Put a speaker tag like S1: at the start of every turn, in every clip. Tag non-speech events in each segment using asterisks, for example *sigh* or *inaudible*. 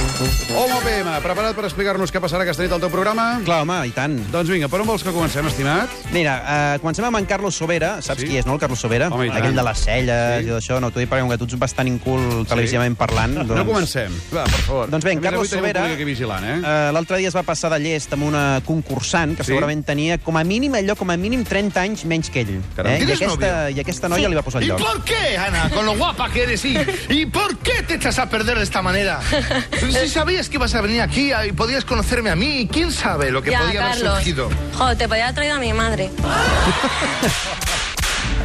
S1: Home PM, preparat per explicar-nos què passarà aquesta nit al teu programa?
S2: Clar, home, i tant.
S1: Doncs vinga, per on vols que comencem, estimat?
S2: Mira, eh, comencem amb en Carlos Sobera. Saps
S1: Sí.
S2: qui és, no, el Carlos Sobera?
S1: Home, i tant.
S2: Aquell de les celles
S1: Sí.
S2: sí. i d'això. No, t'ho dic perquè com que tu ets bastant incul televisivament parlant... Doncs...
S1: No comencem. Va, per favor.
S2: Doncs bé, en
S1: A més,
S2: Carlos
S1: avui tenim un
S2: Sobera...
S1: públic aquí vigilant, eh?
S2: eh, L'altre dia es va passar de llest amb una concursant que
S1: Sí.
S2: sí. segurament tenia com a mínim allò, com a mínim 30 anys menys que ell. eh?
S1: Caram.
S2: I,
S3: Tienes
S2: aquesta,
S3: novio?
S2: I aquesta noia
S4: Sí.
S2: li va posar el
S3: ¿Y
S2: lloc.
S3: por qué,
S1: Ah,
S3: Ana, con lo guapa que eres? ¿Y, ¿Y por qué te echas a perder de esta
S4: *laughs*
S3: manera? Si sabías que ibas a venir aquí y podías conocerme a mí, ¿quién sabe lo que
S4: ya,
S3: podía haber
S4: Carlos.
S3: surgido?
S4: Joder, te podía haber traído a mi madre.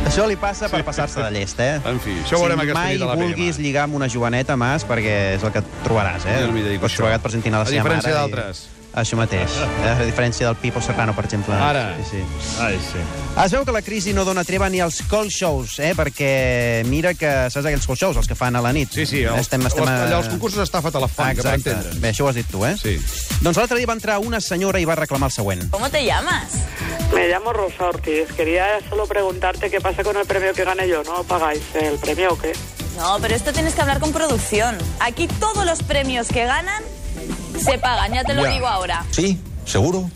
S2: Això li passa per passar-se de llest, eh?
S1: En fi, això ho veurem
S2: si
S1: aquesta
S2: mai
S1: nit a la
S2: vulguis
S1: PM.
S2: lligar amb una joveneta més, perquè és el que et trobaràs, eh?
S1: Jo no m'hi dedico,
S2: Pots
S1: això.
S2: trobar que et presentin a la
S1: A
S2: seva mare.
S1: diferència
S2: i-
S1: d'altres.
S2: Això mateix. eh? A diferència del Pipo Serrano, per exemple.
S1: Ara.
S2: Ah, Sí, sí.
S5: Ai, sí.
S2: Es veu que la crisi no dona treva ni als call shows, eh? perquè mira que saps aquells call shows, els que fan a la nit.
S1: Sí, sí, els,
S2: estem, estem a...
S1: els, allò, els concursos d'estafa telefònica, per
S2: Exacte.
S1: entendre.
S2: Bé, això ho has dit tu, eh?
S1: Sí.
S2: Doncs l'altre dia va entrar una senyora i va reclamar el següent.
S4: ¿Cómo te llamas?
S6: Me llamo Rosa Ortiz. Quería solo preguntarte qué pasa con el premio que gané yo. ¿No pagáis el premio o qué?
S4: No, pero esto tienes que hablar con producción. Aquí todos los premios que ganan se pagan, ya te lo
S1: Ya.
S4: digo ahora.
S7: Sí, seguro.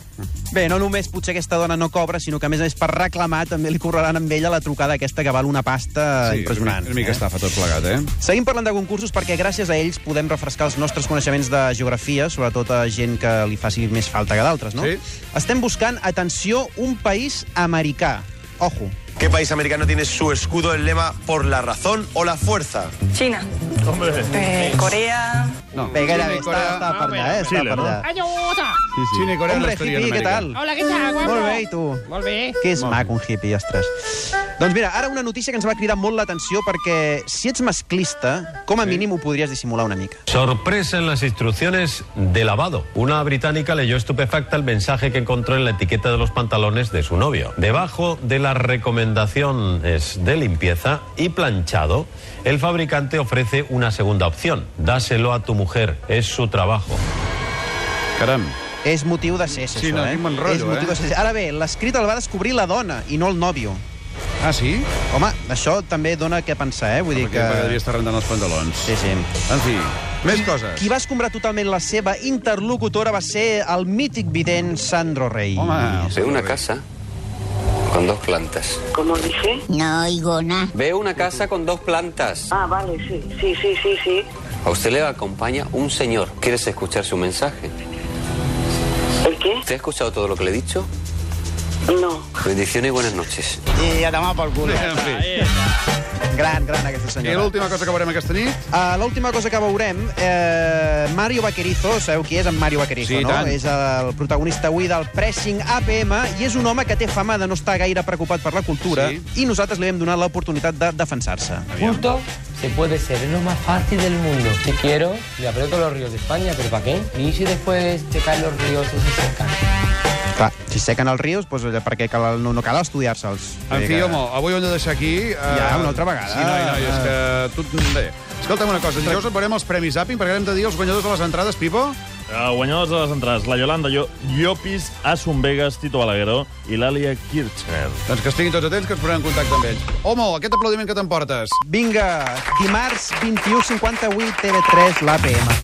S2: Bé, no només potser aquesta dona no cobra, sinó que a més a més per reclamar també li cobraran amb ella la trucada aquesta que val una pasta impressionant.
S1: Una mica
S2: eh?
S1: estafa tot plegat, eh?
S2: Seguim parlant de concursos perquè gràcies a ells podem refrescar els nostres coneixements de geografia, sobretot a gent que li faci més falta que d'altres, no?
S1: Sí.
S2: Estem buscant, atenció, un país americà. Ojo.
S8: ¿Qué país americano tiene su escudo, el lema por la razón o la fuerza?
S6: China. Corea.
S1: No.
S2: Bé,
S1: Xina
S2: gairebé,
S1: i
S2: està, està
S1: Corea...
S2: per allà, eh? Està
S5: Xile,
S2: per
S5: no?
S2: allà.
S1: Sí, sí. Xina i Corea no
S2: Hombre,
S1: estarien
S2: hippie,
S1: a
S2: què
S1: Amèrica.
S2: tal? Hola, què tal, guapo? Molt bé, i tu? Molt bé. Que és maco, un hippie, ostres. Doncs mira, ara una notícia que ens va cridar molt l'atenció perquè si ets masclista, com a mínim ho podries dissimular una mica.
S9: Sorpresa en las instrucciones de lavado. Una británica leyó estupefacta el mensaje que encontró en la etiqueta de los pantalones de su novio. Debajo de las recomendaciones de limpieza y planchado, el fabricante ofrece una segunda opción. Dáselo a tu mujer, es su trabajo.
S1: Caram.
S2: És motiu de ser,
S1: Sí,
S2: això,
S1: no,
S2: eh?
S1: quin bon rotllo,
S2: és
S1: eh?
S2: motiu de ser. Ara bé, l'escrit el va descobrir la dona i no el nòvio.
S1: Ah, sí?
S2: Home, això també dona què pensar, eh? Vull dir
S1: Perquè
S2: que...
S1: devia estar rentant els pantalons.
S2: Sí, sí.
S1: En fi, més coses.
S2: Qui va escombrar totalment la seva interlocutora va ser el mític vident Sandro Rey.
S1: Home, el
S10: Veo
S1: Sandro
S10: una
S1: Rey.
S10: casa con dos plantas.
S6: ¿Cómo dije?
S4: No oigo nada.
S10: Veo una casa con dos plantas.
S6: Ah, vale, sí. Sí, sí, sí, sí.
S10: A usted le acompaña un señor. ¿Quieres escuchar su mensaje?
S6: ¿El qué?
S10: ¿Te ha escuchado todo lo que le he dicho?
S6: No.
S10: Bendiciones y buenas noches.
S2: I a tomar pel cul.
S1: En fi.
S2: Gran, gran, aquesta
S1: I
S2: senyora.
S1: l'última cosa que veurem aquesta nit?
S2: Uh, L'última cosa que veurem, eh, Mario Vaquerizo, sabeu qui és en Mario Vaquerizo,
S1: Sí, i
S2: no?
S1: tant.
S2: És el protagonista avui del Pressing APM i és un home que té fama de no estar gaire preocupat per la cultura
S1: Sí.
S2: i nosaltres li hem donat l'oportunitat de defensar-se.
S7: Punto. Se puede ser, es lo más fácil del mundo. Si quiero, le aprieto los ríos de España, pero ¿para qué? Y si después se caen los ríos y se secan.
S2: Clar, si sequen els rius, doncs, allà perquè cal, no, no cal estudiar-se'ls.
S1: En
S2: Vull
S1: fi,
S2: dir que-
S1: home, avui ho hem de deixar aquí. eh,
S2: Ja, una altra vegada. Ah.
S1: Sí, noi, noi, és que tot... Bé, escolta'm una cosa, dijous et veurem els Premis Zapping perquè hem de dir els guanyadors de les entrades, Pipo.
S5: Uh, guanyadors de les entrades, la Yolanda Llo Llopis, Asun Vegas, Tito Balagueró i l'Àlia Kirchner.
S1: Doncs que estiguin tots atents, que ens posarem en contacte amb ells. Homo, aquest aplaudiment que t'emportes.
S2: Vinga, dimarts 21.58 TV3, l'APM.